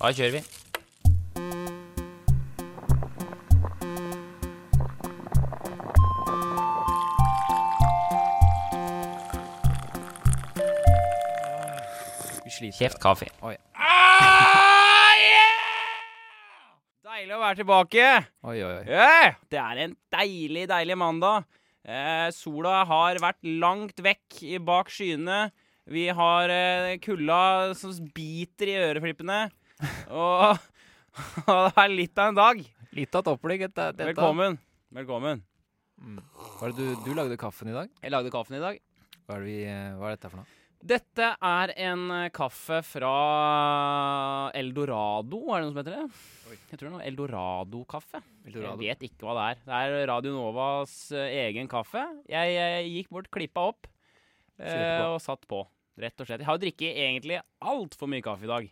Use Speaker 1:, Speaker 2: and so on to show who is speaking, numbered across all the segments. Speaker 1: Da kjører vi.
Speaker 2: Vi sliter.
Speaker 1: Kjeft kaffe.
Speaker 2: Ah, Deilig å være tilbake.
Speaker 3: Oi, oi, oi.
Speaker 2: Yeah! Det er en deilig, deilig mandag. Eh, sola har vært langt vekk i- bak skyene. Vi har eh, kulda som biter i øreflippene. Og, og det er litt av en dag.
Speaker 3: Litt av et opplegg. Dette, dette.
Speaker 2: Velkommen. Velkommen.
Speaker 3: Hva er det du, du lagde kaffen i dag?
Speaker 2: Jeg lagde kaffen i dag.
Speaker 3: Hva er, det vi, eh, hva er dette for noe?
Speaker 2: Dette er en eh, kaffe fra Eldorado, er det noe som heter det? Jeg tror det er noe Eldorado-kaffe. Jeg vet ikke hva det er. Det er Radio Novas eh, egen kaffe. Jeg, eh, gikk bort, klippa opp eh,
Speaker 3: Kjørte på.
Speaker 2: og satt på. Rett og slett. Jeg har jo drikket egentlig altfor mye kaffe i dag.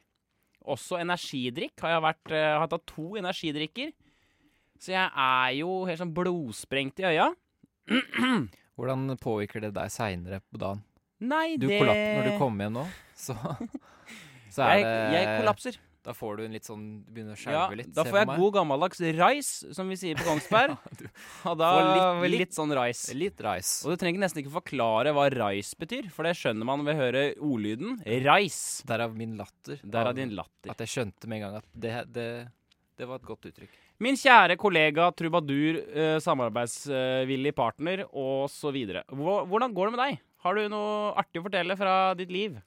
Speaker 2: Også energidrikk. Har jeg vært, eh, har tatt to energidrikker. Så jeg er jo helt sånn blodsprengt i øya.
Speaker 3: Hvordan påvirker det deg seinere på dagen?
Speaker 2: Nei,
Speaker 3: Du
Speaker 2: det
Speaker 3: kollaps når du kommer hjem nå, så, så er
Speaker 2: Jeg, jeg
Speaker 3: det
Speaker 2: kollapser.
Speaker 3: Da får du en litt sånn Du begynner å skjelve litt.
Speaker 2: Da
Speaker 3: se
Speaker 2: får jeg
Speaker 3: på meg.
Speaker 2: god gammeldags rais, som vi sier på Kongsberg. Og da
Speaker 3: Får litt-
Speaker 2: litt,
Speaker 3: litt-
Speaker 2: sånn rais.
Speaker 3: Litt reis.
Speaker 2: Og du trenger nesten ikke forklare hva rais betyr, for det skjønner man ved å høre ordlyden rais.
Speaker 3: Derav min latter.
Speaker 2: Der er din latter.
Speaker 3: At jeg skjønte med en gang at det, det, det var et godt uttrykk.
Speaker 2: Min kjære kollega, trubadur, eh, samarbeidsvillig partner, og så videre. Hvor- Hvordan går det med deg? Har du noe artig å fortelle fra ditt liv?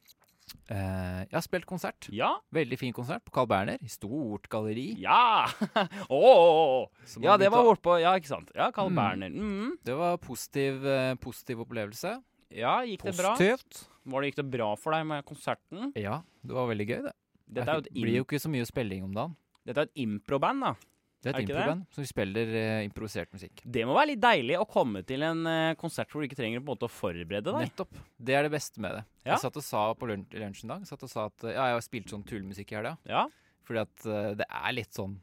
Speaker 3: Eh, jeg har spilt konsert.
Speaker 2: Ja?
Speaker 3: Veldig fin konsert på Carl Berner. I stort galleri.
Speaker 2: Ja! Ååå!
Speaker 3: Så
Speaker 2: Ja,
Speaker 3: man
Speaker 2: det
Speaker 3: begynte
Speaker 2: var
Speaker 3: å-
Speaker 2: bortpå Ja, ikke sant? Ja, Carl
Speaker 3: Mm.
Speaker 2: Berner. Mm.
Speaker 3: Det var positiv, eh, positiv opplevelse.
Speaker 2: Ja, gikk det bra?
Speaker 3: Positivt.
Speaker 2: Var det, gikk det bra for deg med konserten?
Speaker 3: Ja, det var veldig gøy, det.
Speaker 2: Dette er jo
Speaker 3: det
Speaker 2: et
Speaker 3: blir jo ikke så mye spilling om dagen.
Speaker 2: Dette er et improband, da.
Speaker 3: Det er
Speaker 2: Er ikke
Speaker 3: et
Speaker 2: det?
Speaker 3: improband, så vi spiller eh, improvisert musikk.
Speaker 2: Det må være litt deilig å komme til en eh, konsert hvor du ikke trenger på en måte å forberede deg.
Speaker 3: Nettopp. Det er det beste med det.
Speaker 2: Ja.
Speaker 3: Jeg satt og sa på lunsj, lunsj en dag satt og sa at eh, ja, jeg har spilt sånn tullemusikk i helga.
Speaker 2: Ja,
Speaker 3: Fordi at eh, det er litt sånn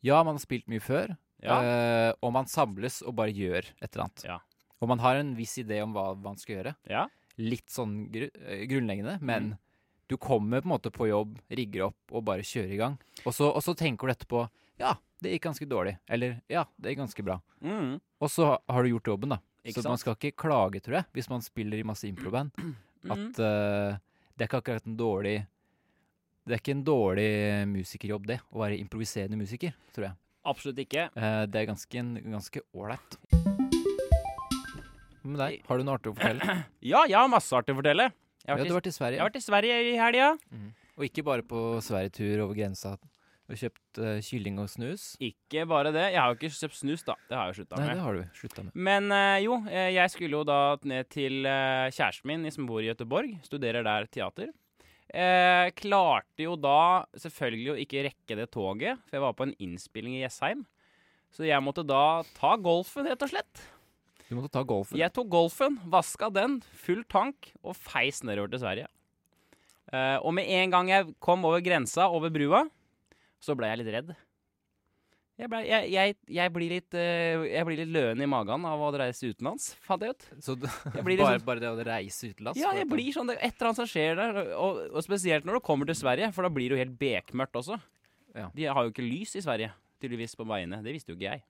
Speaker 3: Ja, man har spilt mye før,
Speaker 2: ja.
Speaker 3: eh, og man samles og bare gjør et eller annet.
Speaker 2: Ja.
Speaker 3: Og man har en viss idé om hva man skal gjøre.
Speaker 2: ja. Mm.
Speaker 3: Litt sånn gru eh, grunnleggende, men du kommer på en måte på jobb, rigger opp og bare kjører i gang. Og så, og så tenker du etterpå Ja, det gikk ganske dårlig. Eller ja, det gikk ganske bra.
Speaker 2: Mm.
Speaker 3: Og så har du gjort jobben, da.
Speaker 2: Ikke
Speaker 3: så man
Speaker 2: sant?
Speaker 3: skal ikke klage, tror jeg, hvis man spiller i masse improband.
Speaker 2: Mm.
Speaker 3: At eh, det er ikke akkurat en dårlig Det er ikke en dårlig musikerjobb, det. Å være improviserende musiker, tror jeg.
Speaker 2: Absolutt ikke.
Speaker 3: Eh, det er ganske en- ganske ålreit. Hva med deg? Har du noe artig å fortelle?
Speaker 2: Ja, jeg har masse artig å fortelle. Jeg har
Speaker 3: Ja,
Speaker 2: vært,
Speaker 3: du har vært i
Speaker 2: i,
Speaker 3: Sverige.
Speaker 2: jeg har vært i Sverige i helga.
Speaker 3: Og ikke bare på sverigetur over grensa. Du har kjøpt eh, kylling og snus.
Speaker 2: Ikke bare det. Jeg har jo ikke kjøpt snus, da. Det har jeg jo slutta
Speaker 3: Nei, det
Speaker 2: med.
Speaker 3: har du slutta med.
Speaker 2: Men eh, jo, eh, jeg skulle jo da ned til eh, kjæresten min som bor i Gøteborg. Studerer der teater. Eh, klarte jo da selvfølgelig å ikke rekke det toget, for jeg var på en innspilling i Jessheim. Så jeg måtte da ta golfen, rett og slett.
Speaker 3: Du måtte ta golfen.
Speaker 2: Jeg tok golfen, vaska den, full tank, og feis nedover til Sverige. Eh, og med en gang jeg kom over grensa, over brua, så ble jeg litt redd. Jeg, ble, jeg, jeg, jeg, blir litt, eh, jeg blir litt løen i magen av å reise utenlands, fant jeg ut.
Speaker 3: Så du,
Speaker 2: Jeg blir
Speaker 3: bare,
Speaker 2: liksom-
Speaker 3: bare det å reise utenlands?
Speaker 2: Ja,
Speaker 3: for
Speaker 2: jeg
Speaker 3: dette.
Speaker 2: blir sånn, det er et eller annet som skjer der, og, og spesielt når du kommer til Sverige, for da blir det jo helt bekmørkt også.
Speaker 3: Ja.
Speaker 2: De har jo ikke lys i Sverige, tydeligvis, på veiene. Det visste jo ikke jeg.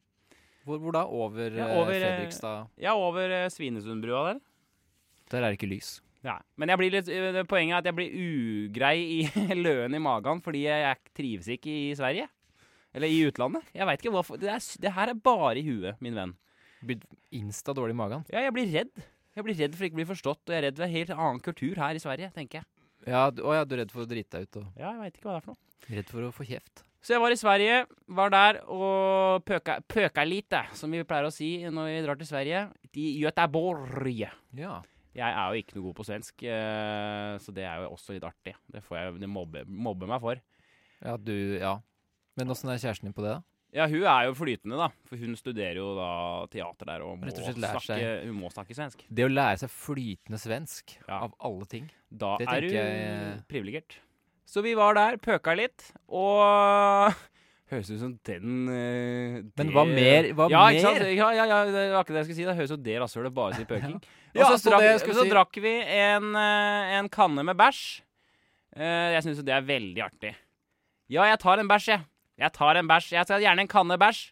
Speaker 3: Hvor, hvor da? Over,
Speaker 2: Ja,
Speaker 3: eh,
Speaker 2: over, eh,
Speaker 3: Fredrikstad?
Speaker 2: Ja, over eh, Svinesundbrua der.
Speaker 3: Der er det ikke lys.
Speaker 2: Ja. Men jeg blir litt, eh, poenget er at jeg blir ugrei i løen i magen fordi jeg, jeg trives ikke i Sverige. Eller i utlandet. Jeg vet ikke hvorfor. Det, er, s- det her er bare i huet, min venn.
Speaker 3: Blir insta dårlig i magen.
Speaker 2: Ja, jeg blir redd. Jeg blir redd for ikke å bli forstått, og jeg er redd for en helt annen kultur her i Sverige, tenker jeg.
Speaker 3: Ja, du, å ja, du er redd for å drite deg ut og
Speaker 2: Ja, jeg vet ikke hva det er for noe.
Speaker 3: redd for å få kjeft.
Speaker 2: Så jeg var i Sverige, var der og pøka, pøka litt, eh, som vi pleier å si når vi drar til Sverige. I Göteborg.
Speaker 3: Ja.
Speaker 2: Jeg er jo ikke noe god på svensk, eh, så det er jo også litt artig. Det får jeg det mobbe, mobbe meg for.
Speaker 3: Ja, du Ja. Men åssen er kjæresten din på det, da?
Speaker 2: Ja, hun er jo flytende, da. For hun studerer jo da teater der og må,
Speaker 3: Rett og slett lærer
Speaker 2: snakke,
Speaker 3: seg.
Speaker 2: hun må snakke svensk.
Speaker 3: Det å lære seg flytende svensk,
Speaker 2: Ja.
Speaker 3: av alle ting.
Speaker 2: Da
Speaker 3: Det
Speaker 2: er
Speaker 3: tenker
Speaker 2: hun
Speaker 3: jeg-
Speaker 2: privilegert. Så vi var der, pøka litt, og Høres ut som den eh,
Speaker 3: Men
Speaker 2: det-
Speaker 3: hva mer- hva
Speaker 2: ja, Ikke sant?
Speaker 3: mer?
Speaker 2: Ja, ja, ja, det var ikke det jeg skulle si. Det høres ut som det rasshølet bare sier pøking.
Speaker 3: Ja,
Speaker 2: og
Speaker 3: så
Speaker 2: så, drakk,
Speaker 3: det jeg skulle
Speaker 2: så
Speaker 3: si-
Speaker 2: drakk vi en, eh, en kanne med bæsj. Eh, jeg syns jo det er veldig artig. Ja, jeg tar en bæsj, jeg. Jeg tar en bæsj. Jeg tar gjerne en kanne bæsj.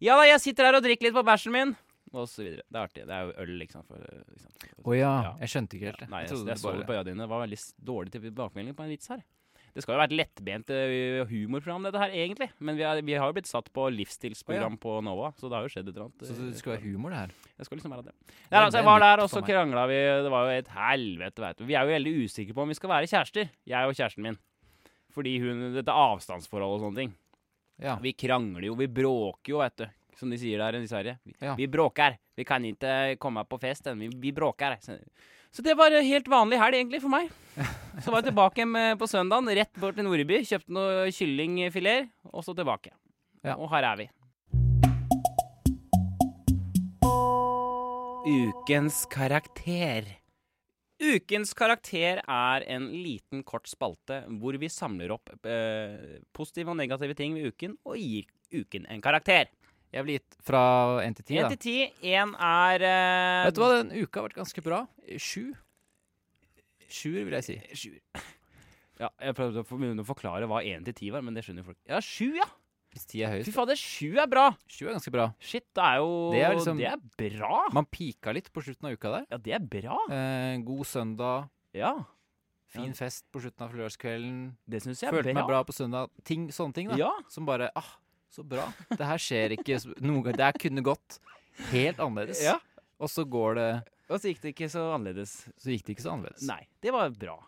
Speaker 2: Ja da, jeg sitter her og drikker litt på bæsjen min. Og så videre. Det er artig. Det er jo øl, liksom. For, liksom.
Speaker 3: Å ja.
Speaker 2: Ja.
Speaker 3: Jeg skjønte ikke helt det.
Speaker 2: Nei, jeg,
Speaker 3: trodde
Speaker 2: jeg,
Speaker 3: det
Speaker 2: så
Speaker 3: bare-
Speaker 2: det på øya dine. Det var veldig s- dårlig tilbakemelding på en vits her. Det skal jo være et lettbent ø, humorprogram, dette her, egentlig. Men vi, er, vi har jo blitt satt på livsstilsprogram på Nova, så det har jo skjedd et eller annet.
Speaker 3: Så det skal være humor, det her.
Speaker 2: Jeg skal liksom være det.
Speaker 3: er
Speaker 2: Ja, altså, jeg
Speaker 3: en
Speaker 2: var
Speaker 3: nytt
Speaker 2: der, og
Speaker 3: for
Speaker 2: så
Speaker 3: meg.
Speaker 2: krangla vi. Det var jo et helvete, vet du. Vi er jo veldig usikre på om vi skal være kjærester, jeg og kjæresten min. Fordi hun Dette avstandsforholdet og sånne ting.
Speaker 3: Ja.
Speaker 2: Vi krangler jo, vi bråker jo, vet du. Som de sier der i Sverige. Vi,
Speaker 3: Ja.
Speaker 2: vi bråker. Vi kan ikke eh, komme på fest, men vi, vi bråker. Så- Så det var en helt vanlig helg, egentlig, for meg. Så var jeg tilbake hjem eh, på søndagen, rett bort til Nordby, kjøpte noen kyllingfileter, og så tilbake.
Speaker 3: Ja.
Speaker 2: Og her er vi. Ukens karakter. Ukens karakter er en liten, kort spalte hvor vi samler opp eh, positive og negative ting ved uken og gir uken en karakter.
Speaker 3: Jeg blir gitt fra én til ti,
Speaker 2: Én
Speaker 3: da.
Speaker 2: til ti. Én er eh,
Speaker 3: Vet du hva, den uka har vært ganske bra. Sju. Sjuer, vil jeg si.
Speaker 2: Sjuer. Ja, jeg prøvde å for- begynne å forklare hva én til ti var, men det skjønner jo folk. Ja, sju, ja!
Speaker 3: Hvis ti er
Speaker 2: Fy
Speaker 3: høyest.
Speaker 2: fader, sju er bra!
Speaker 3: Sju er ganske bra.
Speaker 2: Shit, det er jo
Speaker 3: Det er liksom-
Speaker 2: det er bra!
Speaker 3: Man pika litt på slutten av uka der.
Speaker 2: Ja, det er bra.
Speaker 3: Eh, god søndag,
Speaker 2: Ja,
Speaker 3: fin
Speaker 2: Ja.
Speaker 3: fest på slutten av lørdagskvelden.
Speaker 2: det syns jeg er bra.
Speaker 3: Følte meg bra på søndag. Ting, sånne ting, da.
Speaker 2: Ja,
Speaker 3: Som bare Ah, så bra. Det her skjer ikke så- noen gang. Det her kunne gått helt annerledes.
Speaker 2: Ja.
Speaker 3: Og så går det
Speaker 2: Og så gikk det ikke så annerledes.
Speaker 3: Så gikk det ikke så annerledes.
Speaker 2: Nei, det var bra.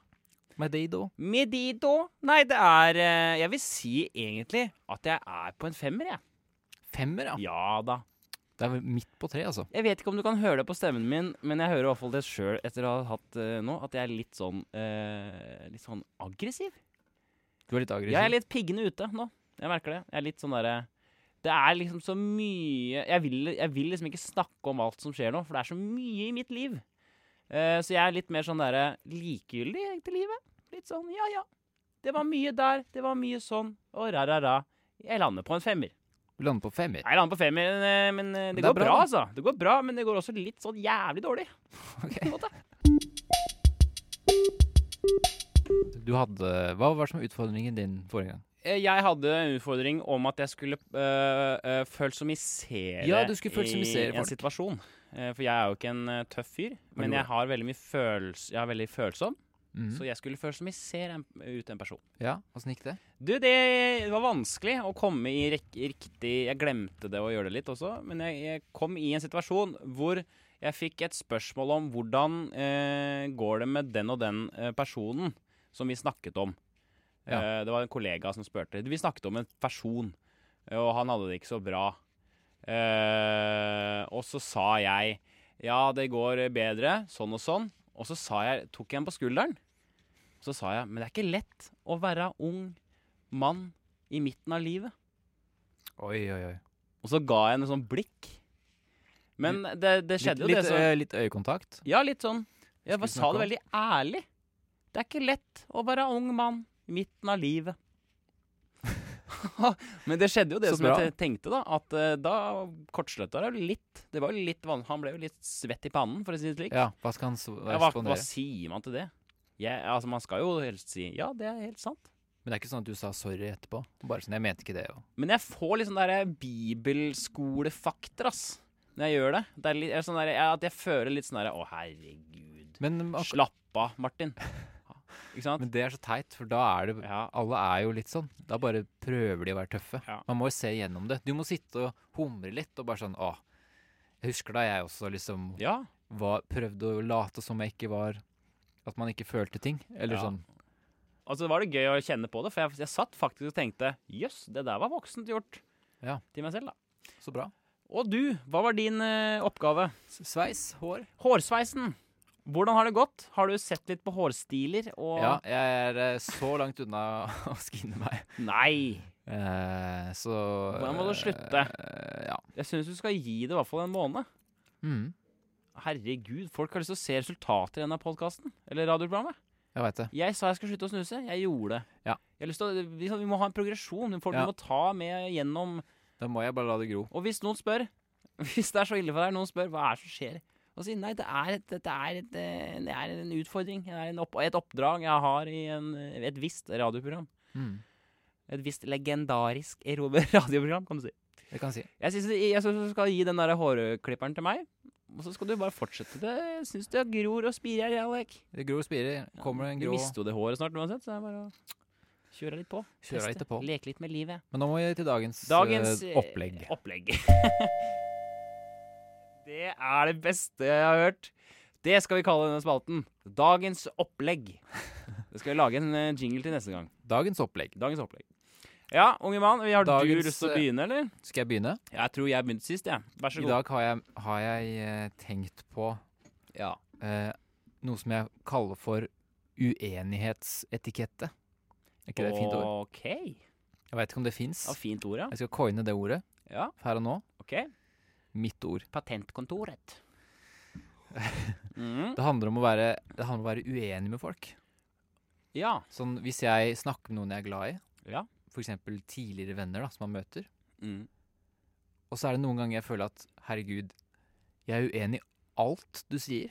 Speaker 3: My day, though.
Speaker 2: Med de, da? Nei, det er eh, Jeg vil si egentlig at jeg er på en femmer, jeg.
Speaker 3: Femmer, ja.
Speaker 2: Ja da.
Speaker 3: Det er vel midt på tre, altså.
Speaker 2: Jeg vet ikke om du kan høre det på stemmen min, men jeg hører i hvert fall det sjøl etter å ha hatt eh, nå, at jeg er litt sånn eh, Litt sånn aggressiv.
Speaker 3: Du er litt aggressiv.
Speaker 2: Jeg er litt piggende ute nå. Jeg merker det. Jeg er litt sånn derre Det er liksom så mye jeg vil, jeg vil liksom ikke snakke om alt som skjer nå, for det er så mye i mitt liv. Eh, så jeg er litt mer sånn derre likegyldig til livet. Litt sånn ja, ja. Det var mye der, det var mye sånn, og ra-ra-ra. Jeg lander på en femmer.
Speaker 3: Du lander på femmer.
Speaker 2: Jeg lander på femmer, men, eh, men eh, det,
Speaker 3: Det er
Speaker 2: går bra,
Speaker 3: bra,
Speaker 2: altså. Det går bra, men det går også litt sånn jævlig dårlig.
Speaker 3: Ok.
Speaker 2: På en måte.
Speaker 3: Du hadde Hva var det som var utfordringen din forrige gang?
Speaker 2: Eh, Jeg hadde en utfordring om at jeg skulle øh, øh, følsomisere
Speaker 3: Ja, du skulle følsomisere
Speaker 2: i en
Speaker 3: folk.
Speaker 2: situasjon. Eh, for jeg er jo ikke en eh, tøff fyr, men
Speaker 3: jo
Speaker 2: jeg
Speaker 3: det.
Speaker 2: har veldig mye føls... Jeg er veldig følsom,
Speaker 3: Mhm.
Speaker 2: så jeg skulle følsomisere en, ut en person.
Speaker 3: Ja, åssen gikk det?
Speaker 2: Du, det var vanskelig å komme i rek riktig Jeg glemte det å gjøre det litt også, men jeg, jeg kom i en situasjon hvor jeg fikk et spørsmål om hvordan eh, går det med den og den eh, personen som vi snakket om. Eh, det var en kollega som spurte. Vi snakket om en person, eh, og han hadde det ikke så bra. Eh, og så sa jeg ja, det går bedre, sånn og sånn. Og så sa jeg, tok jeg en på skulderen. Så sa jeg, men det er ikke lett å være ung mann i midten av livet.
Speaker 3: Oi, oi, oi.
Speaker 2: Og så ga jeg henne sånn blikk. Men det, det
Speaker 3: Litt,
Speaker 2: skjedde jo
Speaker 3: litt,
Speaker 2: det så
Speaker 3: eh, litt øyekontakt.
Speaker 2: Ja, litt sånn. Jeg
Speaker 3: Skulle
Speaker 2: bare sa
Speaker 3: snakke
Speaker 2: det
Speaker 3: om.
Speaker 2: veldig ærlig. Det er ikke lett å være ung mann i midten av livet. Men det skjedde jo det
Speaker 3: Så
Speaker 2: som
Speaker 3: bra.
Speaker 2: jeg te- tenkte, da. At eh, da kortslutta det jo litt. Det var jo litt van Han ble jo litt svett i pannen, for å si det slik.
Speaker 3: Ja, hva skal han s-
Speaker 2: Ja, hva, hva
Speaker 3: respondere?
Speaker 2: sier man til det? Jeg, altså, man skal jo helst si ja, det er helt sant.
Speaker 3: Men det er ikke sånn at du sa sorry etterpå? Bare sånn, jeg mente ikke det. Og.
Speaker 2: Men jeg får litt sånn der bibelskolefakter, ass. Når jeg gjør det. Det er litt, jeg er sånn der, jeg, At jeg føler litt sånn derre Å, herregud.
Speaker 3: Men, ak-
Speaker 2: Slapp av, Martin. Ikke sant?
Speaker 3: men det er så teit, for da er det
Speaker 2: Ja.
Speaker 3: Alle er jo litt sånn. Da bare prøver de å være tøffe.
Speaker 2: Ja.
Speaker 3: Man må jo se gjennom det. Du må sitte og humre litt og bare sånn Å, jeg husker da jeg også liksom
Speaker 2: ja.
Speaker 3: var, prøvde å late som jeg ikke var At man ikke følte ting. Eller
Speaker 2: Ja.
Speaker 3: sånn.
Speaker 2: Altså, var det gøy å kjenne på det, for jeg, jeg satt faktisk og tenkte Jøss, det der var voksent gjort.
Speaker 3: Ja.
Speaker 2: Til meg selv, da.
Speaker 3: Så bra.
Speaker 2: Og du, hva var din eh, oppgave?
Speaker 3: S- Sveis, hår.
Speaker 2: Hårsveisen. Hvordan har det gått? Har du sett litt på hårstiler og
Speaker 3: Ja, jeg er eh, så langt unna å skinne meg.
Speaker 2: Nei!
Speaker 3: Eh, så
Speaker 2: Hvordan må du slutte?
Speaker 3: eh, ja.
Speaker 2: Jeg syns du skal gi det i hvert fall en måned.
Speaker 3: Mm,
Speaker 2: Herregud, folk har lyst til å se resultater i denne podkasten. Eller radioprogrammet.
Speaker 3: jeg veit det.
Speaker 2: Jeg sa jeg skulle slutte å snuse. Jeg gjorde det.
Speaker 3: Ja.
Speaker 2: Jeg har lyst til å, vi, vi må ha en progresjon. Folk
Speaker 3: Ja.
Speaker 2: må ta med gjennom
Speaker 3: Da må jeg bare la det gro.
Speaker 2: Og hvis noen spør Hvis det er så ille for deg, noen spør hva er det som skjer, og si nei, det er, et, det er, et, eh, det er en utfordring. Det er en opp, et oppdrag jeg har i en, et visst radioprogram.
Speaker 3: Mm.
Speaker 2: Et visst legendarisk aerobe radioprogram, kan du si.
Speaker 3: Det kan jeg si.
Speaker 2: Jeg syns du jeg synes du skal gi den der hårklipperen til meg, og så skal du bare fortsette det. Jeg syns det gror og spirer, jeg, Alek.
Speaker 3: Det gror og spirer. Kommer det en
Speaker 2: Du
Speaker 3: grå
Speaker 2: mister jo det håret snart uansett, så det er bare å kjøre litt på.
Speaker 3: Kjører
Speaker 2: Teste.
Speaker 3: litt på.
Speaker 2: Leke litt med livet.
Speaker 3: Men nå må vi til dagens,
Speaker 2: Dagens
Speaker 3: eh,
Speaker 2: eh,
Speaker 3: opplegg.
Speaker 2: opplegg. det er det beste jeg har hørt. Det skal vi kalle denne spalten. Dagens opplegg. Det skal vi lage en eh, jingle til neste gang.
Speaker 3: Dagens opplegg.
Speaker 2: Dagens opplegg. Ja, unge mann, har
Speaker 3: Dagens,
Speaker 2: du lyst til å
Speaker 3: eh,
Speaker 2: begynne, eller?
Speaker 3: Skal jeg begynne?
Speaker 2: Jeg tror jeg begynte sist, jeg. Vær så
Speaker 3: I
Speaker 2: god.
Speaker 3: dag har jeg, har jeg eh, tenkt på
Speaker 2: Ja.
Speaker 3: eh, noe som jeg kaller for uenighetsetikette. Er ikke det et fint ord?
Speaker 2: OK. Ja,
Speaker 3: Jeg veit ikke om det fins.
Speaker 2: fint ord, ja.
Speaker 3: Jeg skal coine det ordet
Speaker 2: ja.
Speaker 3: her og nå.
Speaker 2: OK.
Speaker 3: Mitt ord.
Speaker 2: Patentkontoret. Mm.
Speaker 3: Det handler om å være, det handler om å være uenig med folk.
Speaker 2: Ja.
Speaker 3: Sånn, hvis jeg snakker med noen jeg er glad i,
Speaker 2: Ja.
Speaker 3: f.eks. tidligere venner da, som man møter,
Speaker 2: Mm.
Speaker 3: og så er det noen ganger jeg føler at herregud, jeg er uenig i alt du sier.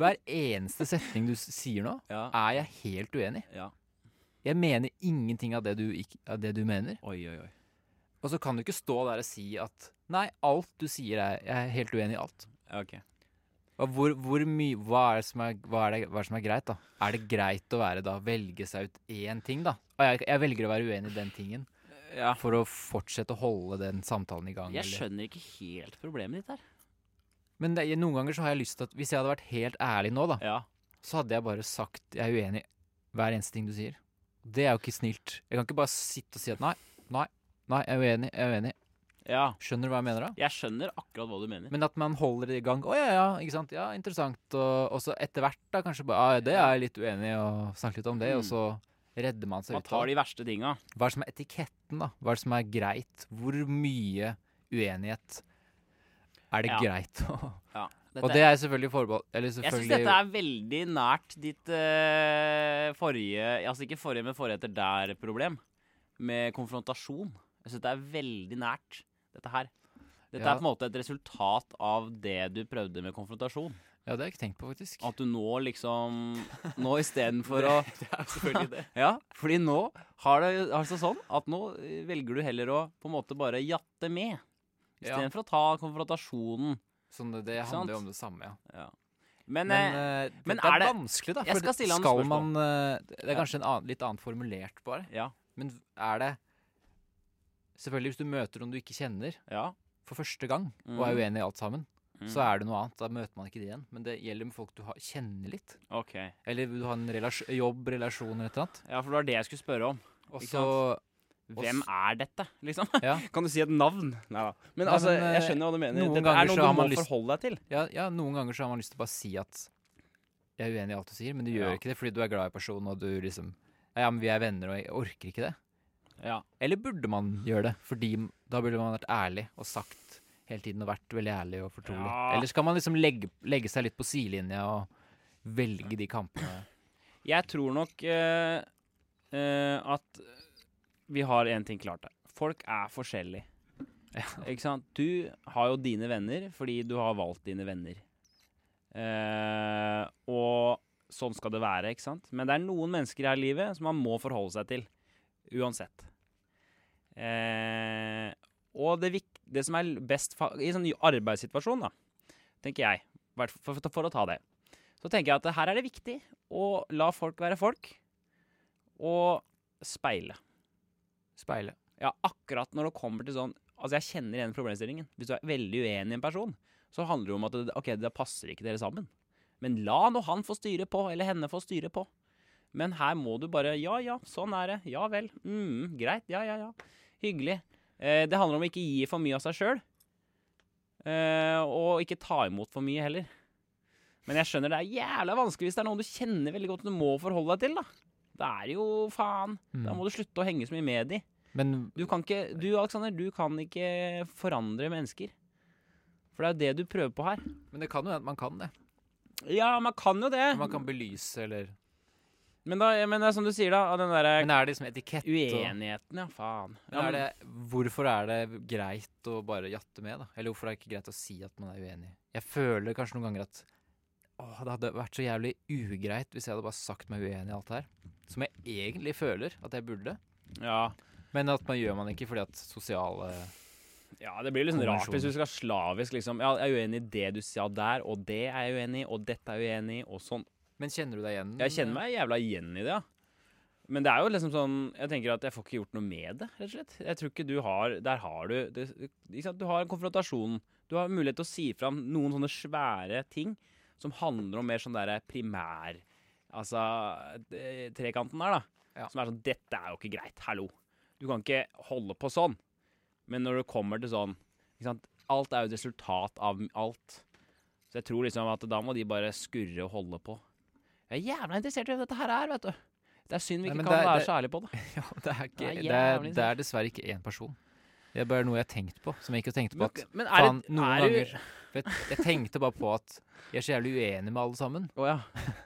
Speaker 3: Hver eneste setning du s- sier nå,
Speaker 2: ja.
Speaker 3: er jeg helt uenig i.
Speaker 2: Ja.
Speaker 3: Jeg mener ingenting av det, du, ikk- av det du mener.
Speaker 2: Oi, oi, oi.
Speaker 3: Og så kan du ikke stå der og si at nei, alt du sier er jeg er helt uenig i alt.
Speaker 2: OK.
Speaker 3: Og Hvor, hvor mye, hva, er det som er, hva, er det, hva er det som er greit, da? Er det greit å være da, velge seg ut én ting, da? Og jeg, jeg velger å være uenig i den tingen
Speaker 2: Ja.
Speaker 3: for å fortsette å holde den samtalen i gang.
Speaker 2: Jeg
Speaker 3: eller-
Speaker 2: skjønner ikke helt problemet ditt her.
Speaker 3: Men det, noen ganger så har jeg lyst til at hvis jeg hadde vært helt ærlig nå, da,
Speaker 2: Ja.
Speaker 3: så hadde jeg bare sagt jeg er uenig i hver eneste ting du sier. Det er jo ikke snilt. Jeg kan ikke bare sitte og si at nei, nei, nei, jeg er uenig, jeg er uenig.
Speaker 2: ja.
Speaker 3: Skjønner du hva jeg mener da?
Speaker 2: Jeg skjønner akkurat hva du mener.
Speaker 3: Men at man holder det i gang. Å ja, ja, ikke sant. Ja, interessant. Og, og så etter hvert da kanskje bare ah, det er jeg litt uenig i, og snakke litt om det.
Speaker 2: Mm.
Speaker 3: Og så redder man seg
Speaker 2: Man
Speaker 3: ut av
Speaker 2: tar
Speaker 3: det.
Speaker 2: de verste tinga.
Speaker 3: Hva er det som er etiketten, da? Hva er det som er greit? Hvor mye uenighet er det
Speaker 2: Ja.
Speaker 3: greit å
Speaker 2: Ja.
Speaker 3: Og det er selvfølgelig forbehold Eller
Speaker 2: jeg syns
Speaker 3: selvfølgelig
Speaker 2: dette er veldig nært ditt eh, forrige Altså ikke forrige, men forrige etter der-problem. Med konfrontasjon. Jeg syns det er veldig nært, dette her. Dette
Speaker 3: Ja.
Speaker 2: er på en måte et resultat av det du prøvde med konfrontasjon.
Speaker 3: Ja, det har jeg ikke tenkt på, faktisk.
Speaker 2: At du nå liksom Nå istedenfor å
Speaker 3: er selvfølgelig det.
Speaker 2: Ja, fordi nå har det altså sånn at nå eh, velger du heller å på en måte bare jatte med.
Speaker 3: Ja.
Speaker 2: Istedenfor å ta konfrontasjonen.
Speaker 3: Sånn, det, det
Speaker 2: Ikke sant?
Speaker 3: handler jo om det samme, ja.
Speaker 2: Men,
Speaker 3: Men,
Speaker 2: eh,
Speaker 3: eh,
Speaker 2: men
Speaker 3: det, det
Speaker 2: er
Speaker 3: er
Speaker 2: det-
Speaker 3: vanskelig, da.
Speaker 2: Jeg
Speaker 3: for
Speaker 2: skal
Speaker 3: det-
Speaker 2: stille han et
Speaker 3: skal
Speaker 2: spørsmål.
Speaker 3: man, eh, Det
Speaker 2: Ja.
Speaker 3: er kanskje en annen, litt annet formulert, bare.
Speaker 2: ja,
Speaker 3: Men er det Selvfølgelig, hvis du møter noen du ikke kjenner
Speaker 2: ja.
Speaker 3: for første gang, eh, og
Speaker 2: Mm.
Speaker 3: er uenig i alt sammen, så er det noe annet. Da møter man ikke de igjen. Men det gjelder med folk du har, kjenner litt.
Speaker 2: OK.
Speaker 3: Eller du har en relasj jobb, relasjon eller et eller annet.
Speaker 2: Ja, for det var det jeg skulle spørre om.
Speaker 3: Og
Speaker 2: Ikke
Speaker 3: så Og
Speaker 2: Hvem
Speaker 3: s-
Speaker 2: er dette, liksom?
Speaker 3: ja,
Speaker 2: Kan du si et navn? Nei da. Men
Speaker 3: Nei,
Speaker 2: altså,
Speaker 3: men, eh,
Speaker 2: jeg skjønner hva du mener.
Speaker 3: noen
Speaker 2: Dette
Speaker 3: ganger
Speaker 2: er
Speaker 3: så
Speaker 2: noe
Speaker 3: har
Speaker 2: du må
Speaker 3: man lyst-
Speaker 2: forholde deg til.
Speaker 3: ja, ja, noen ganger så har man lyst til å bare si at jeg er uenig i alt du sier, men du gjør
Speaker 2: Ja.
Speaker 3: ikke det fordi du er glad i personen og du liksom Ja, men vi er venner, og jeg orker ikke det.
Speaker 2: Ja.
Speaker 3: Eller burde man gjøre det? Fordi m- da burde man vært ærlig og sagt hele tiden og vært veldig ærlig og fortrolig.
Speaker 2: Ja.
Speaker 3: Eller skal man liksom legge, legge seg litt på sidelinja og velge de kampene?
Speaker 2: Jeg tror nok eh, eh, at vi har én ting klart der. Folk er forskjellige. Ikke sant? Du har jo dine venner fordi du har valgt dine venner. Eh, og sånn skal det være, ikke sant? Men det er noen mennesker her i livet som man må forholde seg til. Uansett. Eh, og det, vik det som er best fa i sånn arbeidssituasjon, da, tenker jeg, hvert- for, for, for å ta det, så tenker jeg at her er det viktig og la folk være folk. Og speile.
Speaker 3: Speile.
Speaker 2: Ja, akkurat når det kommer til sånn Altså, jeg kjenner igjen problemstillingen. Hvis du er veldig uenig i en person, så handler det om at det, ok, det passer ikke dere sammen. Men la nå han få styre på, eller henne få styre på. Men her må du bare Ja, ja, sånn er det. Ja vel. Mm, greit. Ja, ja, ja. Hyggelig. Eh, det handler om å ikke gi for mye av seg sjøl. Eh, og ikke ta imot for mye heller. Men jeg skjønner det er jævla vanskelig hvis det er noen du kjenner veldig godt og du må forholde deg til, da. Det er jo faen. Da
Speaker 3: Mm.
Speaker 2: må du slutte å henge så mye med de.
Speaker 3: Men
Speaker 2: Du kan ikke, du Alexander, du kan ikke forandre mennesker. For det er jo det du prøver på her.
Speaker 3: Men det kan jo hende at man kan det.
Speaker 2: Ja, man kan jo det.
Speaker 3: Man kan belyse eller
Speaker 2: Men, da, men det er som du sier, da. av Den derre
Speaker 3: Men er det liksom etikett? og-
Speaker 2: uenigheten, ja. Faen.
Speaker 3: Men
Speaker 2: Ja,
Speaker 3: er det, hvorfor er det greit å bare jatte med, da? Eller hvorfor er det ikke greit å si at man er uenig? Jeg føler kanskje noen ganger at Åh, det hadde vært så jævlig ugreit hvis jeg hadde bare sagt meg uenig i alt det her. Som jeg egentlig føler at jeg burde.
Speaker 2: Ja.
Speaker 3: Men at man gjør man ikke fordi at sosiale
Speaker 2: ja, det blir liksom rart
Speaker 3: Konvensjoner.
Speaker 2: hvis du skal slavisk liksom Ja, jeg er uenig i det du sa der, og det er jeg uenig i, og dette er jeg uenig i, og sånn.
Speaker 3: Men kjenner du deg igjen?
Speaker 2: Jeg kjenner meg jævla igjen i det, ja. Men det er jo liksom sånn Jeg tenker at jeg får ikke gjort noe med det, rett og slett. Jeg tror ikke du har Der har du det, ikke sant? Du har en konfrontasjon. Du har mulighet til å si fram noen sånne svære ting som handler om mer sånn derre primær Altså eh, trekanten der, da.
Speaker 3: Ja.
Speaker 2: Som er sånn Dette er jo ikke greit. Hallo. Du kan ikke holde på sånn. Men når det kommer til sånn ikke sant? Alt er jo et resultat av alt. Så jeg tror liksom at da må de bare skurre og holde på. Jeg er jævla interessert i hvem dette her er, vet du. Det er synd vi
Speaker 3: Nei,
Speaker 2: ikke
Speaker 3: men
Speaker 2: kan
Speaker 3: det er-
Speaker 2: være
Speaker 3: det-
Speaker 2: så ærlige på det.
Speaker 3: Ja, det er, ikke,
Speaker 2: Det er
Speaker 3: det, er,
Speaker 2: jævlig
Speaker 3: det er dessverre ikke én person. Det er bare noe jeg har tenkt på, som jeg ikke har tenkt på at
Speaker 2: Men er
Speaker 3: Faen,
Speaker 2: det
Speaker 3: noen
Speaker 2: er det-
Speaker 3: ganger vet, Jeg tenkte bare på at jeg er så jævlig uenig med alle sammen.
Speaker 2: Å ja.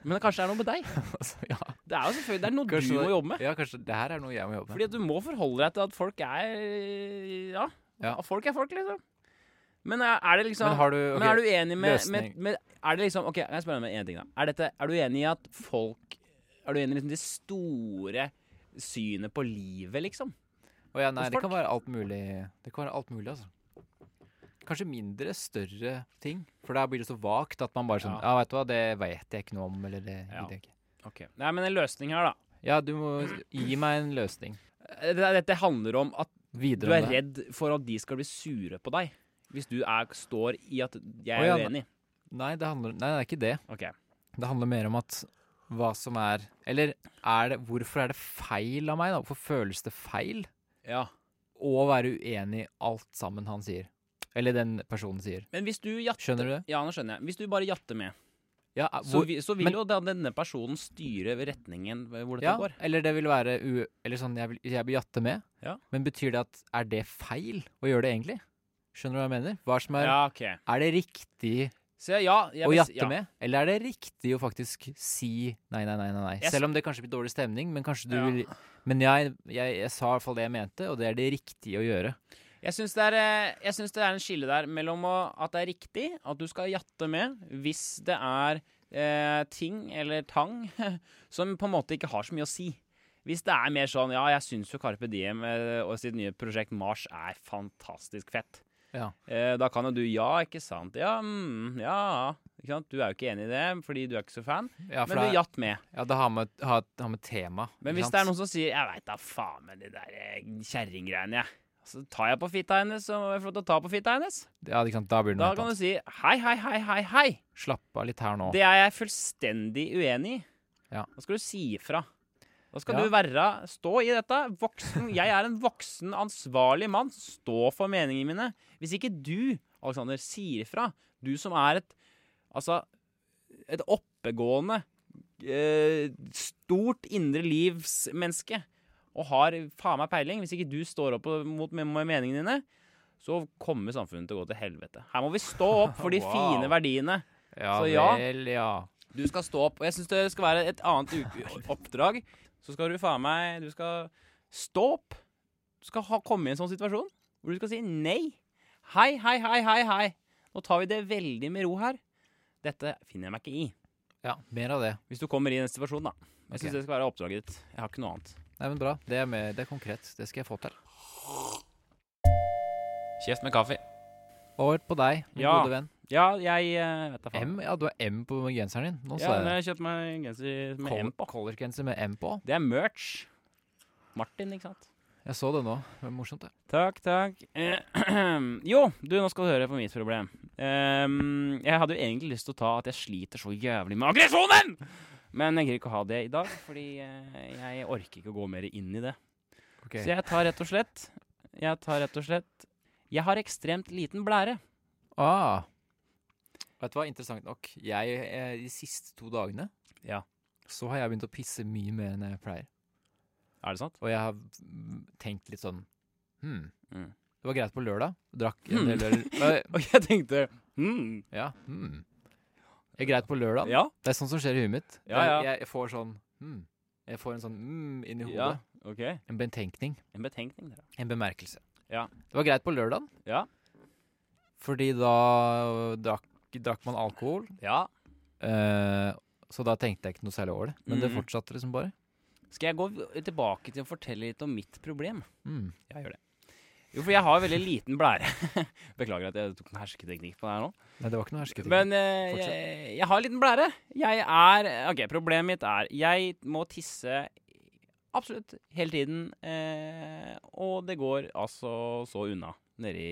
Speaker 2: Men kanskje det er noe med deg.
Speaker 3: Altså, ja.
Speaker 2: Det er jo selvfølgelig det er noe
Speaker 3: Kanskje
Speaker 2: du
Speaker 3: det-
Speaker 2: må jobbe med.
Speaker 3: ja, kanskje det her er noe jeg må jobbe med.
Speaker 2: Fordi at du må forholde deg til at folk er Ja.
Speaker 3: Ja.
Speaker 2: At Folk er folk, liksom. Men er er det liksom
Speaker 3: men har du ok,
Speaker 2: Men er du enig med, med,
Speaker 3: løsning.
Speaker 2: med Er det liksom Ok, jeg spør deg om en ting, da. Er, dette, er du enig i at folk Er du enig i liksom det store synet på livet, liksom?
Speaker 3: Å ja, nei,
Speaker 2: hos
Speaker 3: det
Speaker 2: folk?
Speaker 3: kan være alt mulig. Det kan være alt mulig, altså. Kanskje mindre, større ting. For der blir det så vagt at man bare sånn Ja,
Speaker 2: Ja.
Speaker 3: vet du hva, det vet jeg ikke noe om, eller det
Speaker 2: Ja.
Speaker 3: gidder jeg ikke.
Speaker 2: Ok. Nei, men en løsning her, da.
Speaker 3: Ja, du må gi meg en løsning.
Speaker 2: Dette, Eh, dette handler om at Du
Speaker 3: Videre
Speaker 2: er
Speaker 3: om det.
Speaker 2: redd for at de skal bli sure på deg hvis du er, står i at 'jeg
Speaker 3: Å
Speaker 2: er
Speaker 3: ja,
Speaker 2: uenig'.
Speaker 3: Nei, det handler Nei, det er ikke det.
Speaker 2: Ok.
Speaker 3: Det handler mer om at hva som er Eller er det, hvorfor er det feil av meg, da? Hvorfor føles det feil
Speaker 2: Ja.
Speaker 3: å være uenig i alt sammen han sier? Eller den personen sier.
Speaker 2: Men hvis du jatter
Speaker 3: Skjønner du det?
Speaker 2: Ja, nå skjønner jeg. Hvis du bare jatter med,
Speaker 3: Ja,
Speaker 2: så,
Speaker 3: hvor,
Speaker 2: vi, så vil
Speaker 3: men-
Speaker 2: jo da denne personen styre retningen hvor dette
Speaker 3: ja
Speaker 2: går.
Speaker 3: eller det vil være u, Eller sånn, jeg, vil, jeg blir jatte med.
Speaker 2: Ja.
Speaker 3: Men betyr det at Er det feil å gjøre det, egentlig? Skjønner du hva jeg mener? Hva som er,
Speaker 2: Ja, ok.
Speaker 3: er det riktig
Speaker 2: Så ja, jeg
Speaker 3: å
Speaker 2: vil-
Speaker 3: jatte
Speaker 2: ja.
Speaker 3: med? Eller er det riktig å faktisk si nei, nei, nei, nei, nei?
Speaker 2: Jeg s-
Speaker 3: Selv om det kanskje blir dårlig stemning, men kanskje du
Speaker 2: Ja.
Speaker 3: vil Men jeg, jeg, jeg sa i hvert fall det jeg mente, og det er det riktige å gjøre.
Speaker 2: Jeg syns det, er, eh, jeg syns det er en skille der mellom å, at det er riktig at du skal jatte med hvis det er eh, ting eller tang som på en måte ikke har så mye å si. Hvis det er mer sånn Ja, jeg syns jo Carpe Diem eh, og sitt nye prosjekt Mars er fantastisk fett.
Speaker 3: Ja.
Speaker 2: Eh, da kan jo du Ja, ikke sant? Ja, mm, ja. Ikke sant? Du er jo ikke enig i det fordi du er ikke så fan,
Speaker 3: Ja, for
Speaker 2: men
Speaker 3: det
Speaker 2: du
Speaker 3: er-
Speaker 2: jatt med.
Speaker 3: ja, det har med, har, har med tema.
Speaker 2: Men
Speaker 3: ikke
Speaker 2: hvis
Speaker 3: sant?
Speaker 2: det er noen som sier 'jeg veit da faen med de der eh, kjerringgreiene', jeg. Så tar jeg på fitta hennes, så må jeg få lov til å ta på fitta hennes.
Speaker 3: ja, ikke sant? Da blir det noe
Speaker 2: Da
Speaker 3: helt
Speaker 2: kan
Speaker 3: annet.
Speaker 2: du si hei, hei, hei, hei, hei.
Speaker 3: Slapp av litt her nå.
Speaker 2: Det er jeg fullstendig uenig i.
Speaker 3: Ja.
Speaker 2: Da skal du si ifra. Da skal
Speaker 3: Ja.
Speaker 2: du være, stå i dette. Voksen, jeg er en voksen, ansvarlig mann. Stå for meningene mine. Hvis ikke du, Alexander, sier ifra, du som er et Altså, et oppegående, eh, stort indre livsmenneske og har faen meg peiling Hvis ikke du står opp og- mot med, med meningene dine, så kommer samfunnet til å gå til helvete. Her må vi stå opp for de
Speaker 3: Wow.
Speaker 2: fine verdiene.
Speaker 3: Ja
Speaker 2: så ja.
Speaker 3: vel, ja.
Speaker 2: Du skal stå opp, og jeg syns det skal være et annet u- oppdrag. Så skal du faen meg Du skal stå opp. Du skal ha, komme i en sånn situasjon hvor du skal si nei. Hei, hei, hei, hei, hei. Nå tar vi det veldig med ro her. Dette finner jeg meg ikke i.
Speaker 3: Ja, mer av det.
Speaker 2: Hvis du kommer i den situasjonen, da. Jeg
Speaker 3: Ok.
Speaker 2: syns det skal være oppdraget ditt. Jeg har ikke noe annet.
Speaker 3: Nei, men bra. Det er, mer, det er konkret. Det skal jeg få til.
Speaker 2: Kjeft med kaffe.
Speaker 3: Over på deg, min
Speaker 2: Ja.
Speaker 3: gode venn.
Speaker 2: Ja, jeg eh, vet da faen.
Speaker 3: M, ja, du har M på genseren din. Nå
Speaker 2: Ja,
Speaker 3: sa
Speaker 2: men
Speaker 3: jeg
Speaker 2: jeg
Speaker 3: det.
Speaker 2: kjøpte meg en genser med M.
Speaker 3: Col- Color-genser med M på.
Speaker 2: Det er merch. Martin, ikke sant?
Speaker 3: Jeg så det nå. Det var morsomt, det.
Speaker 2: Takk, takk. Eh, jo, du, nå skal du høre på mitt problem. Ehm, jeg hadde jo egentlig lyst til å ta at jeg sliter så jævlig med aggresjonen! Men jeg gidder ikke å ha det i dag, fordi eh, jeg orker ikke å gå mer inn i det.
Speaker 3: Ok.
Speaker 2: Så jeg tar rett og slett Jeg tar rett og slett Jeg har ekstremt liten blære.
Speaker 3: Ah. Vet du hva, interessant nok. Jeg, eh, De siste to dagene
Speaker 2: Ja.
Speaker 3: så har jeg begynt å pisse mye mer enn jeg pleier.
Speaker 2: Er det sant?
Speaker 3: Og jeg har mm, tenkt litt sånn Hm.
Speaker 2: Mm.
Speaker 3: Det var greit på lørdag. Drakk en
Speaker 2: Hmm.
Speaker 3: del øl. Eh,
Speaker 2: Og jeg tenkte hmm,
Speaker 3: Ja. Hmm. Det er greit på lørdag.
Speaker 2: Ja.
Speaker 3: Det er sånt som skjer i huet mitt. Det er-
Speaker 2: Ja, ja.
Speaker 3: Jeg, jeg får sånn hmm. Jeg får en sånn mm inn i hodet.
Speaker 2: ja. OK.
Speaker 3: En betenkning.
Speaker 2: En betenkning, dere.
Speaker 3: En bemerkelse.
Speaker 2: Ja.
Speaker 3: Det var greit på lørdagen.
Speaker 2: Ja.
Speaker 3: Fordi da drakk, drakk man alkohol.
Speaker 2: Ja.
Speaker 3: eh, så da tenkte jeg ikke noe særlig over det. Men det
Speaker 2: Mhm.
Speaker 3: fortsatte liksom bare.
Speaker 2: Skal jeg gå v- tilbake til å fortelle litt om mitt problem?
Speaker 3: Mm.
Speaker 2: Ja, gjør det. Jo, for jeg har veldig liten blære. Beklager at jeg tok en hersketeknikk på det her nå.
Speaker 3: Nei, det var ikke noe hersketing.
Speaker 2: Men eh, jeg, jeg har en liten blære. Jeg er OK, problemet mitt er jeg må tisse absolutt hele tiden. Eh, og det går altså så unna nedi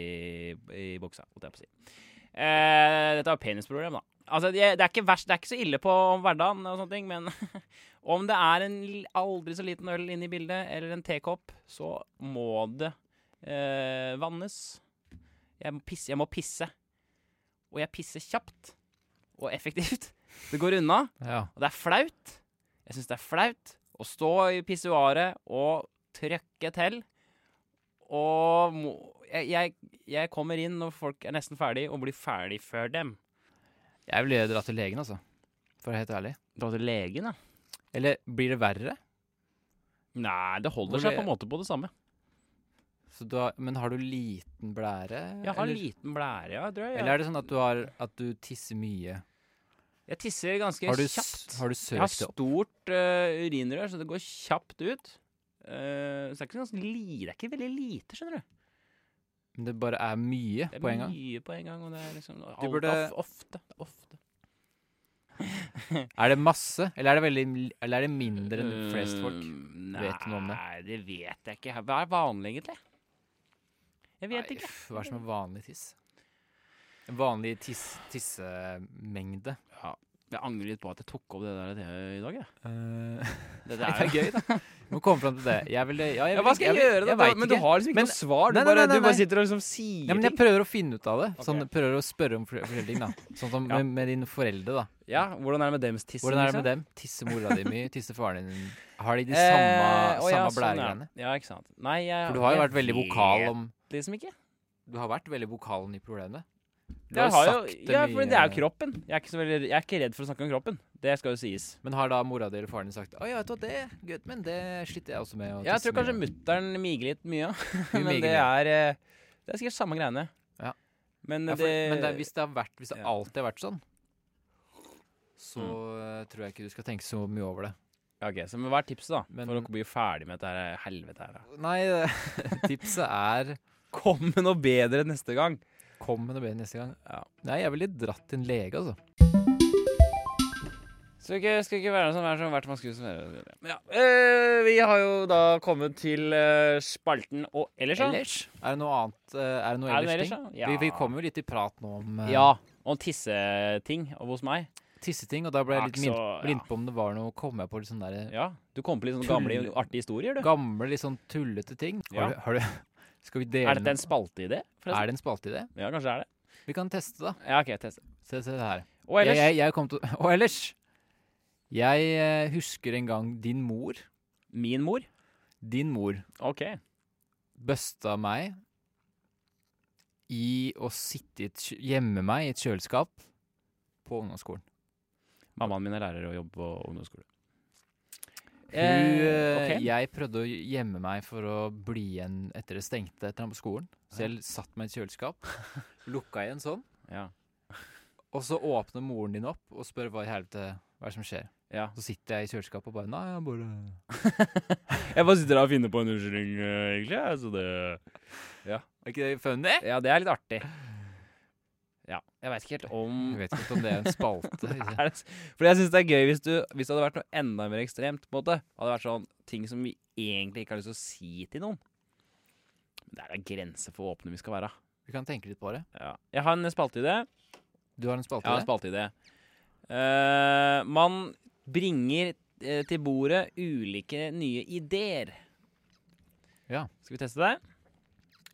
Speaker 2: i buksa, holdt jeg på å si. Eh, dette er jo penisproblem, da. Altså, jeg, det, er ikke verst, det er ikke så ille på hverdagen, og sånne ting, men om det er en l- aldri så liten øl inne i bildet, eller en tekopp, så må det eh, vannes. Jeg må pisse. Jeg må pisse og jeg pisser kjapt og effektivt. Det går unna,
Speaker 3: Ja.
Speaker 2: og det er flaut. Jeg syns det er flaut å stå i pissoaret og trøkke til. Og må, jeg, jeg, jeg kommer inn når folk er nesten ferdig, og blir ferdig før dem.
Speaker 3: Jeg ville dra til legen, altså. For å være helt ærlig.
Speaker 2: Dra til legen, da?
Speaker 3: Eller blir det verre?
Speaker 2: Nei, det holder
Speaker 3: Hvor
Speaker 2: seg på
Speaker 3: det-
Speaker 2: en måte på det samme.
Speaker 3: Så du har, men har du liten blære?
Speaker 2: Jeg har
Speaker 3: eller,
Speaker 2: liten blære, ja. Jeg, tror jeg,
Speaker 3: eller er det sånn at du, har, at du tisser mye?
Speaker 2: jeg tisser ganske
Speaker 3: Har du, s-
Speaker 2: kjapt.
Speaker 3: har du
Speaker 2: Jeg har
Speaker 3: søkt det opp?
Speaker 2: stort eh, urinrør, så det går kjapt ut. Eh, så det er ikke, så ganske li, det er ikke veldig lite, skjønner du.
Speaker 3: Men det bare er mye
Speaker 2: Det er
Speaker 3: på en gang?
Speaker 2: mye på en gang, og det er liksom alt,
Speaker 3: burde-
Speaker 2: of, ofte. ofte.
Speaker 3: Er det masse, eller er det, veldig, eller er det mindre enn flest folk?
Speaker 2: Mm,
Speaker 3: Vet du noe om det?
Speaker 2: Nei, det vet jeg ikke. Hva er vanlig, egentlig? Jeg vet
Speaker 3: Nei,
Speaker 2: ikke.
Speaker 3: uff, Hva er som er vanlig tiss? En vanlig tiss, tissemengde.
Speaker 2: Jeg angrer litt på at jeg tok opp det der i dag, jeg. Det
Speaker 3: Nei, det er gøy, da. Du må komme fram til det. Jeg ville ja, jeg
Speaker 2: Ja,
Speaker 3: ville-
Speaker 2: hva skal jeg, gjøre, da?
Speaker 3: Jeg, jeg
Speaker 2: men du har liksom ikke
Speaker 3: Men-
Speaker 2: noe svar. Du,
Speaker 3: Nei, nei,
Speaker 2: bare, du
Speaker 3: nei, nei.
Speaker 2: bare sitter og liksom sier
Speaker 3: ja, men jeg
Speaker 2: ting.
Speaker 3: prøver å finne ut av det. Sånn,
Speaker 2: Ok.
Speaker 3: Prøver å spørre om fl- forskjellige ting, da. Sånn som
Speaker 2: Ja.
Speaker 3: med, med dine foreldre, da.
Speaker 2: Ja, Hvordan er det med dems tiss?
Speaker 3: Hvordan er det med dem? Tisser mora di mye? Tisser faren din? Har de de samme, samme blæregreiene?
Speaker 2: Eh, sånn, Ja. ja, ikke sant. Nei, jeg,
Speaker 3: For du har jo
Speaker 2: jeg
Speaker 3: vært veldig vokal
Speaker 2: vet
Speaker 3: om
Speaker 2: liksom ikke.
Speaker 3: Du har vært veldig vokal om de problemene. Du
Speaker 2: Jeg har jo,
Speaker 3: sagt
Speaker 2: ja, for det er jo
Speaker 3: mye.
Speaker 2: kroppen. Jeg er, ikke så veldig, jeg er ikke redd for å snakke om kroppen. Det skal jo sies.
Speaker 3: Men har da mora di eller faren din sagt Å ja, vet du hva, det gutt, men det sliter jeg også med. å
Speaker 2: Ja, jeg
Speaker 3: tisse
Speaker 2: tror kanskje
Speaker 3: mye».
Speaker 2: mutter'n miger litt mye, ja.
Speaker 3: Hun
Speaker 2: men
Speaker 3: miger
Speaker 2: det
Speaker 3: mye.
Speaker 2: er, eh, det er sikkert samme greiene.
Speaker 3: Ja.
Speaker 2: Men,
Speaker 3: ja, for,
Speaker 2: det,
Speaker 3: Men det, er- hvis det har vært Hvis det
Speaker 2: Ja.
Speaker 3: alltid har vært sånn, så
Speaker 2: Mm.
Speaker 3: eh, tror jeg ikke du skal tenke så mye over det.
Speaker 2: Ja, ok, så men hva er tipset, da?
Speaker 3: Men-
Speaker 2: for å bli ferdig med dette her helvete her. da?
Speaker 3: Nei, det- tipset er
Speaker 2: Kom med noe bedre neste gang!
Speaker 3: Kom med noe bedre neste gang.
Speaker 2: Ja.
Speaker 3: Nei, jeg ville dratt til en lege, altså.
Speaker 2: Så ikke, skal ikke være sånn hver som hvert man skulle som være. Ja. eh, vi har jo da kommet til eh, spalten og ellers, da.
Speaker 3: Ellers? Er det noe annet eh, Er det noe
Speaker 2: Er det noe
Speaker 3: ellers,
Speaker 2: ellers,
Speaker 3: ting?
Speaker 2: da? Ja.
Speaker 3: Vi, vi kom jo litt i prat nå om eh,
Speaker 2: Ja. Om tisseting og hos meg.
Speaker 3: tisseting, og da ble jeg litt
Speaker 2: Akso,
Speaker 3: minnet
Speaker 2: ja.
Speaker 3: minnet på om det var noe Kom jeg på litt sånn derre
Speaker 2: Ja. Du kom på litt sånne gamle,
Speaker 3: Tull.
Speaker 2: artige historier, du.
Speaker 3: gamle, litt sånn tullete ting.
Speaker 2: Ja.
Speaker 3: Har du, har du Skal vi dele
Speaker 2: Er dette en spalteidé,
Speaker 3: noe-
Speaker 2: forresten?
Speaker 3: Er det en spalte i det?
Speaker 2: Ja, kanskje er det.
Speaker 3: Vi kan teste, da.
Speaker 2: Ja, OK, test.
Speaker 3: Se, se det her.
Speaker 2: Og ellers?
Speaker 3: Jeg, jeg, jeg kom til Og ellers Jeg eh, husker en gang din mor
Speaker 2: Min mor.
Speaker 3: Din mor
Speaker 2: OK.
Speaker 3: busta meg i å sitte i et, kjø- gjemme meg i et kjøleskap på ungdomsskolen.
Speaker 2: Mammaen min er lærer og jobber på ungdomsskole.
Speaker 3: Hun, eh, Jeg prøvde å gjemme meg for å bli igjen etter det stengte etter han på skolen. Så jeg satt meg i et kjøleskap, lukka igjen sånn,
Speaker 2: ja.
Speaker 3: og så åpner moren din opp og spør hva i helvete hva er det som skjer.
Speaker 2: ja.
Speaker 3: Så sitter jeg i kjøleskapet og bare Nei, jeg bare
Speaker 2: Jeg bare sitter her og finner på en unnskyldning, eh, egentlig. jeg, Så det
Speaker 3: Er ikke det funny?
Speaker 2: Ja, det er litt artig. Ja. Jeg veit ikke helt om
Speaker 3: Jeg vet ikke om det er en spalte.
Speaker 2: er det, Fordi jeg syns det er gøy hvis, du, hvis det hadde vært noe enda mer ekstremt. på en måte Hadde det vært sånn ting som vi egentlig ikke har lyst til å si til noen. Men det er da grenser for hvor åpne vi skal være.
Speaker 3: Vi kan tenke litt på det.
Speaker 2: Ja. Jeg har en spalteidé.
Speaker 3: Du har en spalte?
Speaker 2: Jeg har en spalteidé. Eh, man bringer eh, til bordet ulike nye ideer.
Speaker 3: Ja.
Speaker 2: Skal vi teste det?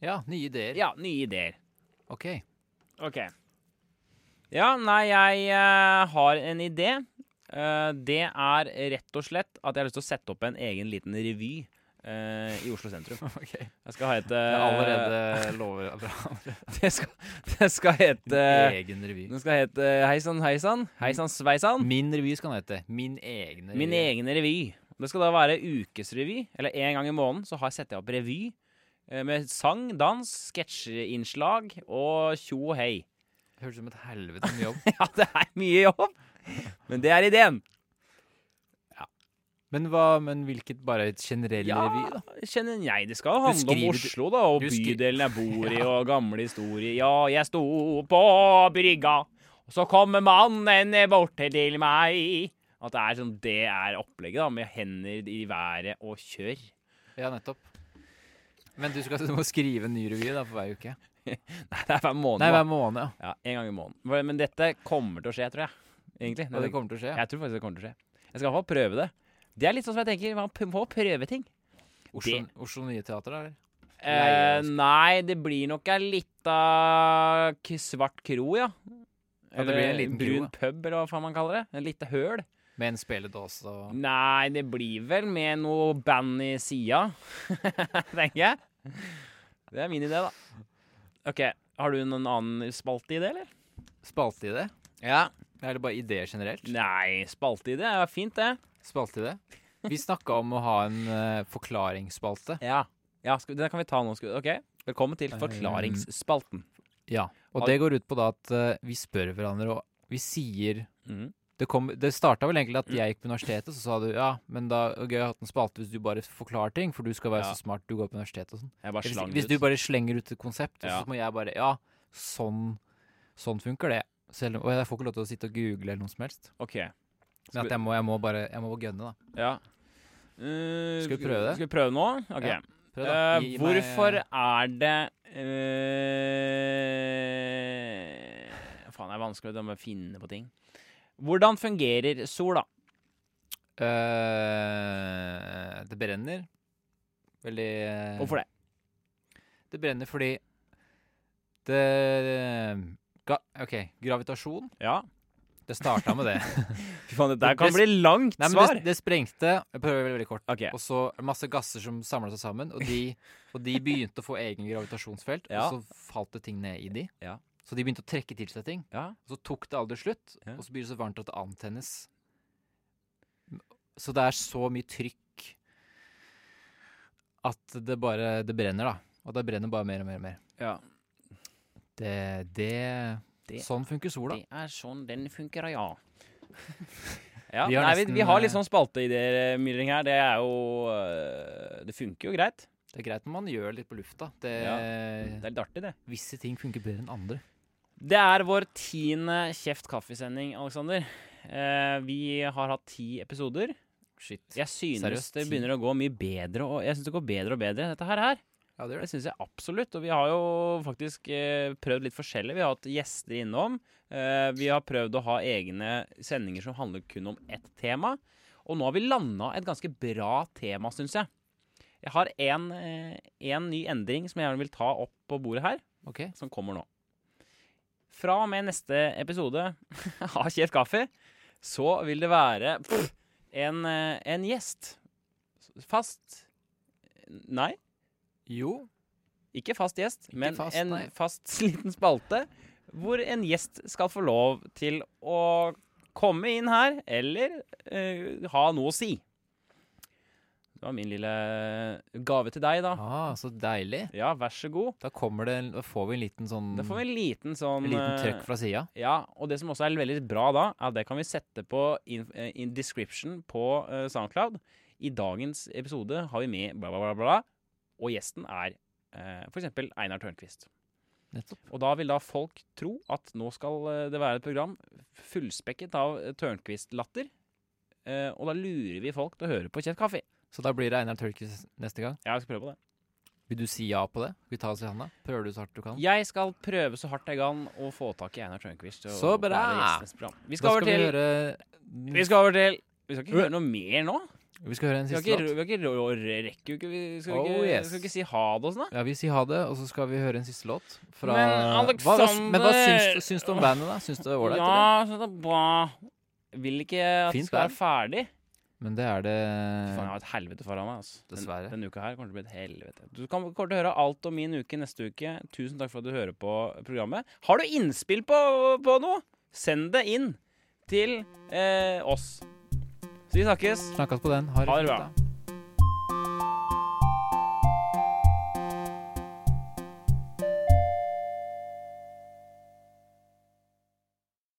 Speaker 3: Ja, nye ideer.
Speaker 2: Ja, nye ideer.
Speaker 3: Ok.
Speaker 2: Ok. Ja, nei, jeg eh, har en idé. Eh, det er rett og slett at jeg har lyst til å sette opp en egen liten revy eh, i Oslo sentrum. Jeg skal ha et eh,
Speaker 3: Jeg allerede lover bra.
Speaker 2: Det skal, det skal hete
Speaker 3: egen revy.
Speaker 2: Den skal hete eh, Hei sann, hei sann. Hei sann, sveisann.
Speaker 3: Min revy skal den hete. Min egen revy.
Speaker 2: Min egen revy. Det skal da være ukesrevy, eller en gang i måneden så har jeg setter jeg opp revy eh, med sang, dans, sketsjeinnslag og tjo og hei.
Speaker 3: Høres ut som et helvete med jobb.
Speaker 2: Ja, det er mye jobb, men det er ideen.
Speaker 3: Men, hva, men hvilket bare et generell revy, da?
Speaker 2: kjenner jeg. Det skal jo handle om
Speaker 3: Beskriver du-
Speaker 2: Oslo, da, og
Speaker 3: du skri-
Speaker 2: bydelen jeg bor i, og gamle historier. Ja, jeg sto på brygga, og så kommer mannen bort til meg. At det er sånn, det er opplegget, da, med hender i været og kjør.
Speaker 3: Ja, nettopp. Men du, skal, du må skrive en ny revy da, for hver uke?
Speaker 2: Nei, det er hver måned.
Speaker 3: Nei,
Speaker 2: da.
Speaker 3: hver måned, ja.
Speaker 2: Ja, en gang i måneden. Men dette kommer til å skje, tror jeg. Egentlig.
Speaker 3: Og det kommer til å skje. ja.
Speaker 2: Jeg tror faktisk det kommer til å skje. Jeg skal i hvert fall prøve det. Det er litt sånn som jeg tenker, man p- må prøve ting.
Speaker 3: Oslo, Oslo Nye Teater, da? eller?
Speaker 2: Eh,
Speaker 3: Jeg-
Speaker 2: nei, det blir nok ei lita k- svart kro, ja.
Speaker 3: Ja, det
Speaker 2: Eller
Speaker 3: blir en liten kro,
Speaker 2: brun
Speaker 3: ja.
Speaker 2: pub, eller hva faen man kaller det. En lite høl.
Speaker 3: Med en speledåse og
Speaker 2: Nei, det blir vel med noe band i sida, tenker jeg. Det er min idé, da. OK. Har du noen annen spalte-idé, eller?
Speaker 3: spalte i det?
Speaker 2: Ja.
Speaker 3: Eller bare ideer generelt?
Speaker 2: Nei, spalte-idé er fint, det.
Speaker 3: Spalte i det? Vi snakka om å ha en eh, forklaringsspalte.
Speaker 2: Ja. ja skal, den kan vi ta nå. Skal, vi- OK. Velkommen til forklaringsspalten.
Speaker 3: Ja, og det går ut på da at eh, vi spør hverandre, og vi sier
Speaker 2: Mhm.
Speaker 3: Det, kom, det starta vel egentlig
Speaker 2: Mm.
Speaker 3: at jeg gikk på universitetet, så sa du ja, men da er det gøy å ha en spalte hvis du bare forklarer ting, for du skal være
Speaker 2: Ja.
Speaker 3: så smart, du går på universitetet og sånn.
Speaker 2: Jeg bare
Speaker 3: Hvis,
Speaker 2: slang
Speaker 3: hvis
Speaker 2: det
Speaker 3: du
Speaker 2: ut.
Speaker 3: bare slenger ut et konsept, og
Speaker 2: Ja.
Speaker 3: så må jeg bare ja, sånn, sånn funker det. Selv, om- og jeg får ikke lov til å sitte og google eller noe som helst.
Speaker 2: OK.
Speaker 3: Men
Speaker 2: Skal
Speaker 3: at jeg må, jeg må bare jeg må gønne, da.
Speaker 2: Ja. Eh,
Speaker 3: Skal vi prøve det?
Speaker 2: Skal vi prøve nå? Ok.
Speaker 3: Ja, Prøv, da.
Speaker 2: Eh,
Speaker 3: Gi meg-
Speaker 2: hvorfor er det eh, Faen, det er vanskelig å finne på ting. Hvordan fungerer sola?
Speaker 3: Eh, det brenner. Veldig eh,
Speaker 2: Hvorfor det?
Speaker 3: Det brenner fordi det ga, OK, gravitasjon.
Speaker 2: Ja.
Speaker 3: Det starta med det.
Speaker 2: Fy faen, dette her
Speaker 3: Det-
Speaker 2: kan bli langt
Speaker 3: Nei, men
Speaker 2: svar.
Speaker 3: det, det sprengte Jeg prøver veldig, veldig kort.
Speaker 2: Ok.
Speaker 3: Og så masse gasser som samla seg sammen, og de, og de begynte å få egen gravitasjonsfelt.
Speaker 2: Ja.
Speaker 3: Og så falt det ting ned i de.
Speaker 2: Ja.
Speaker 3: Så de begynte å trekke til seg ting.
Speaker 2: Ja.
Speaker 3: Og så tok det aldri slutt,
Speaker 2: Ja.
Speaker 3: og så blir det så varmt at det antennes. Så det er så mye trykk at det bare Det brenner, da. Og det brenner bare mer og mer og mer.
Speaker 2: ja.
Speaker 3: Det, det,
Speaker 2: Det-
Speaker 3: Sånn funker sola.
Speaker 2: Det er sånn den funker, ja. ja. Vi har,
Speaker 3: Vi har
Speaker 2: Nei, vi,
Speaker 3: nesten,
Speaker 2: vi har
Speaker 3: eh,
Speaker 2: litt sånn spalteideer, Myhring, her. Det er jo eh, Det funker jo greit.
Speaker 3: Det er greit når man gjør litt på lufta. Det,
Speaker 2: Det er litt artig, det.
Speaker 3: Visse ting funker bedre enn andre.
Speaker 2: Det er vår tiende Kjeft kaffesending, Aleksander. Eh, vi har hatt ti episoder.
Speaker 3: Shit. Ja,
Speaker 2: Jeg synes
Speaker 3: Seriøst,
Speaker 2: det
Speaker 3: ti?
Speaker 2: begynner å gå mye bedre og Jeg synes det går bedre og bedre, dette her. her.
Speaker 3: det gjør
Speaker 2: Det
Speaker 3: det.
Speaker 2: synes jeg absolutt. Og vi har jo faktisk eh, prøvd litt forskjellig. Vi har hatt gjester innom. Eh, vi har prøvd å ha egne sendinger som handler kun om ett tema. Og nå har vi landa et ganske bra tema, synes jeg. Jeg har en, eh, en ny endring som jeg gjerne vil ta opp på bordet her
Speaker 3: Ok.
Speaker 2: som kommer nå. Fra og med neste episode av Kjeft kaffe, så vil det være pff, en, eh, en gjest. Fast Nei,
Speaker 3: Jo.
Speaker 2: ikke fast gjest, men
Speaker 3: fast,
Speaker 2: en
Speaker 3: nei.
Speaker 2: fast liten spalte hvor en gjest skal få lov til å komme inn her, eller eh, ha noe å si. Det var min lille gave til deg, da.
Speaker 3: Ah, så deilig.
Speaker 2: Ja, vær så god.
Speaker 3: Da kommer det Da får vi en liten sånn
Speaker 2: Da får vi en liten sånn
Speaker 3: en liten
Speaker 2: eh,
Speaker 3: trøkk fra sida.
Speaker 2: Ja, og det som også er veldig bra da, er at det kan vi sette på in, eh, in description på eh, SoundCloud. I dagens episode har vi med bla, bla, bla, bla, og gjesten er eh, for f.eks. Einar Tørnquist.
Speaker 3: Nettopp.
Speaker 2: Og da vil da folk tro at nå skal eh, det være et program fullspekket av eh, Tørnquist-latter. Eh, og da lurer vi folk til å høre på Kjeft kaffe.
Speaker 3: Så da blir det Einar Tørkes neste gang.
Speaker 2: Jeg skal prøve på det.
Speaker 3: Vil du si ja på det? Skal vi ta oss i handa? Prøver du så hardt du kan?
Speaker 2: Jeg skal prøve så hardt jeg kan å få tak i Einar Tørnquist. til å
Speaker 3: Så bra!
Speaker 2: være gjest i neste program. Vi skal,
Speaker 3: da skal vi
Speaker 2: over til
Speaker 3: høre
Speaker 2: Vi skal over til Vi skal ikke høre noe mer nå.
Speaker 3: Vi skal høre en
Speaker 2: Vi har
Speaker 3: siste
Speaker 2: ikke,
Speaker 3: låt.
Speaker 2: vi har ikke rå- rå- rekker jo ikke Vi skal
Speaker 3: Oh,
Speaker 2: ikke,
Speaker 3: yes.
Speaker 2: skal ikke si ha det og sånn, da.
Speaker 3: Ja, vi sier ha det, og så skal vi høre en siste låt fra
Speaker 2: Men
Speaker 3: hva, hva, men
Speaker 2: Alexander-
Speaker 3: hva syns, syns du om bandet, da? Syns du det er ålreit? eller?
Speaker 2: ja, så det er bra. Vil ikke at
Speaker 3: Fint
Speaker 2: det skal være ferdig.
Speaker 3: Men det er det
Speaker 2: Faen, jeg har et helvete foran meg. Altså.
Speaker 3: Dessverre.
Speaker 2: Den, denne uka her kommer til å bli et helvete. Du kan, kommer til å høre alt om min uke neste uke. Tusen takk for at du hører på programmet. Har du innspill på, på noe, send det inn til eh, oss. Så vi snakkes.
Speaker 3: Snakkes på den. Ha
Speaker 2: Ha det
Speaker 3: fint,
Speaker 2: bra.
Speaker 3: da.